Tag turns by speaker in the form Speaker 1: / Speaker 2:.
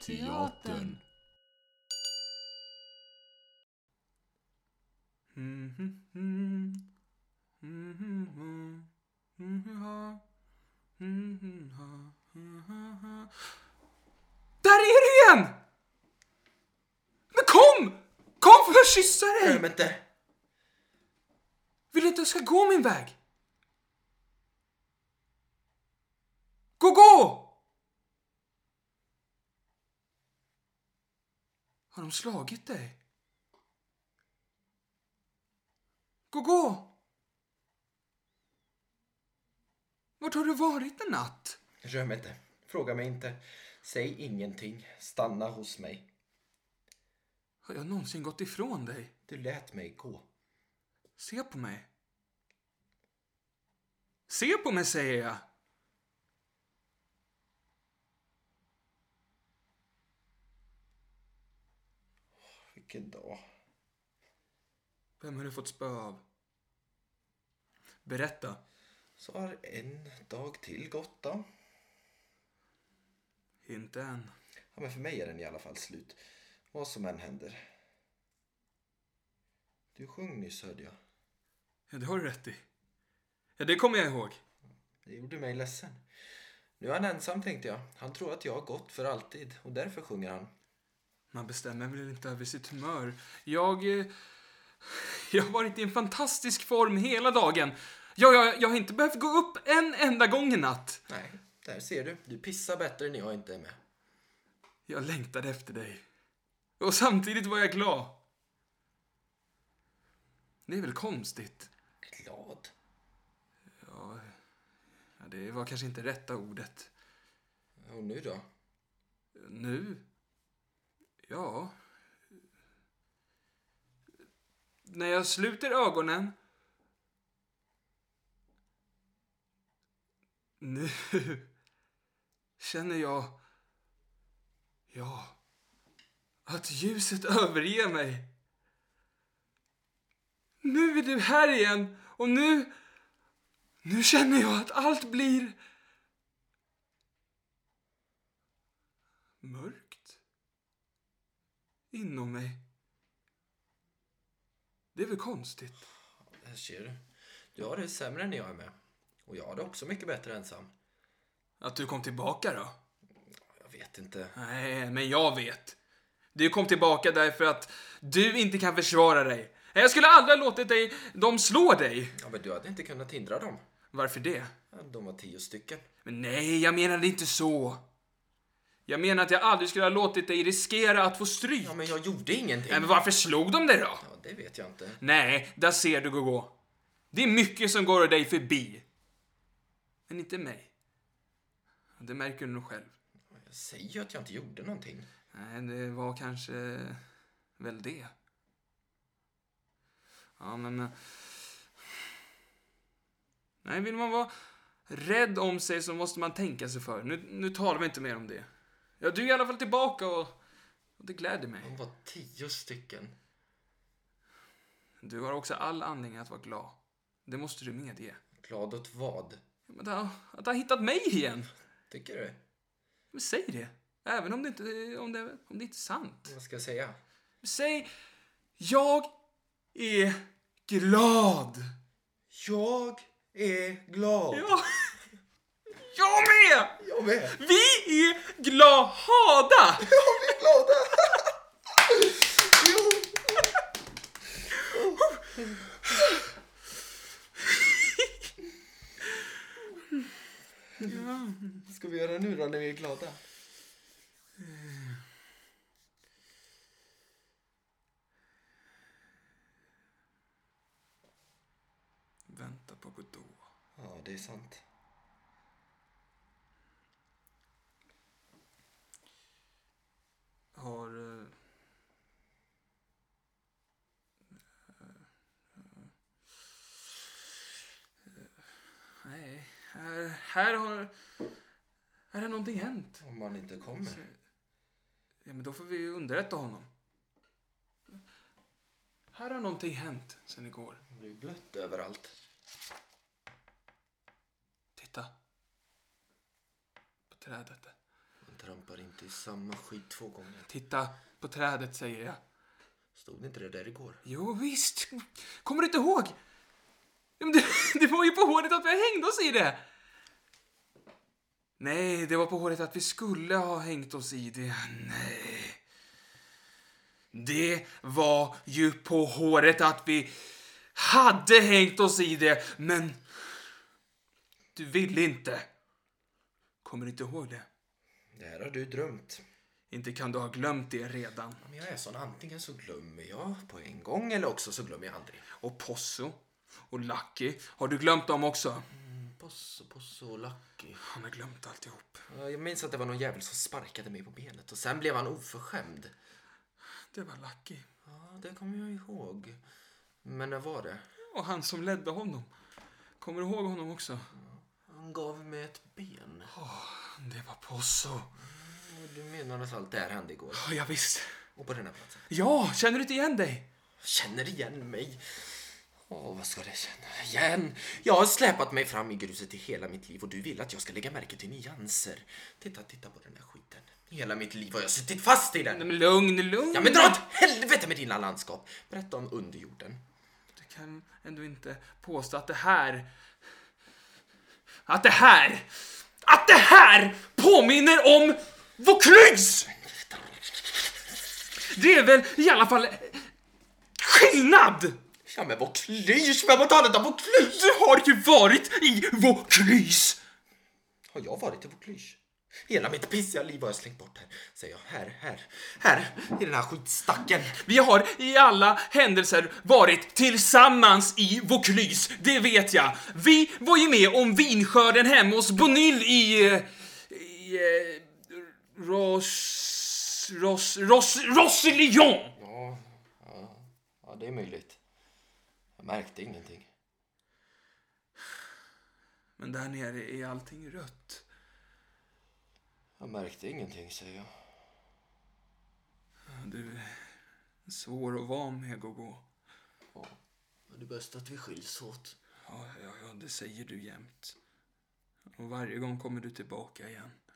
Speaker 1: teatern.
Speaker 2: Där är du igen! Men kom! Kom för jag kyssar dig!
Speaker 1: Glöm inte.
Speaker 2: Vill du att jag ska gå min väg? Gå, gå! Har de slagit dig? Gå, gå! Vart har du varit en natt?
Speaker 1: Glöm inte. Fråga mig inte. Säg ingenting. Stanna hos mig.
Speaker 2: Har jag någonsin gått ifrån dig?
Speaker 1: Du lät mig gå.
Speaker 2: Se på mig. Se på mig, säger jag.
Speaker 1: Vilken dag.
Speaker 2: Vem har du fått spö av? Berätta.
Speaker 1: Så har en dag till gått då.
Speaker 2: Inte än.
Speaker 1: Ja, men för mig är den i alla fall slut. Vad som än händer. Du sjöng nyss hörde jag.
Speaker 2: Ja, det har du rätt i. Ja, det kommer jag ihåg.
Speaker 1: Det gjorde mig ledsen. Nu är han ensam tänkte jag. Han tror att jag har gått för alltid och därför sjunger han.
Speaker 2: Man bestämmer väl inte över sitt humör. Jag... eh, Jag har varit i en fantastisk form hela dagen. Jag, jag, jag har inte behövt gå upp en enda gång i natt.
Speaker 1: Nej, där ser du. Du pissar bättre när jag inte är med.
Speaker 2: Jag längtade efter dig. Och samtidigt var jag glad. Det är väl konstigt?
Speaker 1: Glad.
Speaker 2: Ja, ja, det var kanske inte rätta ordet.
Speaker 1: Och nu då?
Speaker 2: Nu? Ja. När jag sluter ögonen... Nu känner jag... Ja. Att ljuset överger mig. Nu är du här igen och nu... Nu känner jag att allt blir... mörkt inom mig. Det är väl konstigt?
Speaker 1: Där Eh, ser du. Du har det sämre när jag är med. Och jag har det också mycket bättre ensam.
Speaker 2: Att du kom tillbaka då?
Speaker 1: Jag vet inte.
Speaker 2: Nej, men jag vet. Du kom tillbaka därför att du inte kan försvara dig. Jag skulle aldrig ha låtit dig, de slå dig.
Speaker 1: Ja, men du hade inte kunnat hindra dem.
Speaker 2: Varför det?
Speaker 1: Ja, De var tio stycken.
Speaker 2: Men nej, jag menade inte så. Jag menar att jag aldrig skulle ha låtit dig riskera att få stryk.
Speaker 1: Ja, men jag gjorde ingenting.
Speaker 2: Nej, men varför slog de dig då?
Speaker 1: Ja, det vet jag inte.
Speaker 2: Nej, där ser du Gogo. Det är mycket som går dig förbi. Men inte mig. Det märker du nog själv.
Speaker 1: Jag säger ju att jag inte gjorde någonting.
Speaker 2: Nej, det var kanske väl det. Ja, men... eh, Nej, vill man vara rädd om sig så måste man tänka sig för. Nu, nu talar vi inte mer om det. Ja, du är i alla fall tillbaka och, och det gläder mig.
Speaker 1: De var tio stycken.
Speaker 2: Du har också all anledning att vara glad. Det måste du medge.
Speaker 1: Glad åt vad?
Speaker 2: Ja, men att, att ha hittat mig igen.
Speaker 1: Tycker du?
Speaker 2: Men säg det. Även om det inte, om det, om det inte är sant.
Speaker 1: Vad ska jag säga?
Speaker 2: Men säg, jag är glad.
Speaker 1: Jag är glad.
Speaker 2: Ja. Jag med!
Speaker 1: Jag med.
Speaker 2: Vi är glada!
Speaker 1: Ja, vi är glada. jo. Vad ska vi göra nu då när vi är glada?
Speaker 2: Vänta på Godot.
Speaker 1: Ja, det är sant.
Speaker 2: Har... eh, Nej, här, här har... Här har någonting hänt.
Speaker 1: Om man inte kommer.
Speaker 2: Ja, men då får vi ju underrätta honom. Här har någonting hänt sen igår.
Speaker 1: Det är blött överallt.
Speaker 2: Titta. På trädet. där.
Speaker 1: Vänta. Trampar inte i samma skit två gånger.
Speaker 2: Titta på trädet, säger jag.
Speaker 1: Stod inte det där igår?
Speaker 2: Jo, visst. Kommer du inte ihåg? Ja, men Det, det var ju på håret att vi hängde oss i det. Nej, det var på håret att vi skulle ha hängt oss i det. Nej. Det var ju på håret att vi hade hängt oss i det, men du ville inte. Kommer du inte ihåg det?
Speaker 1: Det här har du drömt.
Speaker 2: Inte kan du ha glömt det redan.
Speaker 1: Men jag är sån, antingen så glömmer jag på en gång eller också så glömmer jag aldrig.
Speaker 2: Och Posso och Lucky, har du glömt dem också?
Speaker 1: Posso, Posso och Lucky.
Speaker 2: Han har glömt alltihop.
Speaker 1: Ja, Jag minns att det var någon jävel som sparkade mig på benet och sen blev han oförskämd.
Speaker 2: Det var Lucky.
Speaker 1: Ja, det kommer jag ihåg. Men när var det?
Speaker 2: Och han som ledde honom. Kommer du ihåg honom också?
Speaker 1: Han gav mig ett ben.
Speaker 2: Det var Posso.
Speaker 1: Och Du menar att allt det här hände igår?
Speaker 2: Ja, ja visst.
Speaker 1: Och på den här platsen?
Speaker 2: Ja, känner du inte igen dig?
Speaker 1: Känner igen mig. Åh, vad ska det känna igen? Jag har släpat mig fram i gruset i hela mitt liv och du vill att jag ska lägga märke till nyanser. Titta, titta på den här skiten. Hela mitt liv har jag suttit fast i
Speaker 2: Nej,
Speaker 1: den.
Speaker 2: men lugn, lugn.
Speaker 1: Ja, men dra åt helvete med dina landskap. Berätta om underjorden.
Speaker 2: Du kan ändå inte påstå att det här... Att det här... Att det här påminner om Vaucluse! Det är väl i alla fall skillnad!
Speaker 1: Ja, men vad klysch med på talet om Vaucluse?
Speaker 2: Du har ju varit i Vaucluse!
Speaker 1: Har jag varit i Vaucluse? Hela mitt pissiga liv har jag slängt bort här, säger jag. Här, här, här, i den här skitstacken.
Speaker 2: Vi har i alla händelser varit tillsammans i Vaucluse, det vet jag. Vi var ju med om vinskörden hemma hos Bonyl i... eh, i eh, Ros... Ros... Ros... Rossillon!
Speaker 1: Ja, ja, ja, det är möjligt. Jag märkte ingenting.
Speaker 2: Men där nere är allting rött.
Speaker 1: Jag märkte ingenting, säger jag.
Speaker 2: Du är svår att vara med, Gogo.
Speaker 1: Men det är bäst att vi skiljs åt.
Speaker 2: Ja, ja, ja, det säger du jämt. Och varje gång kommer du tillbaka igen.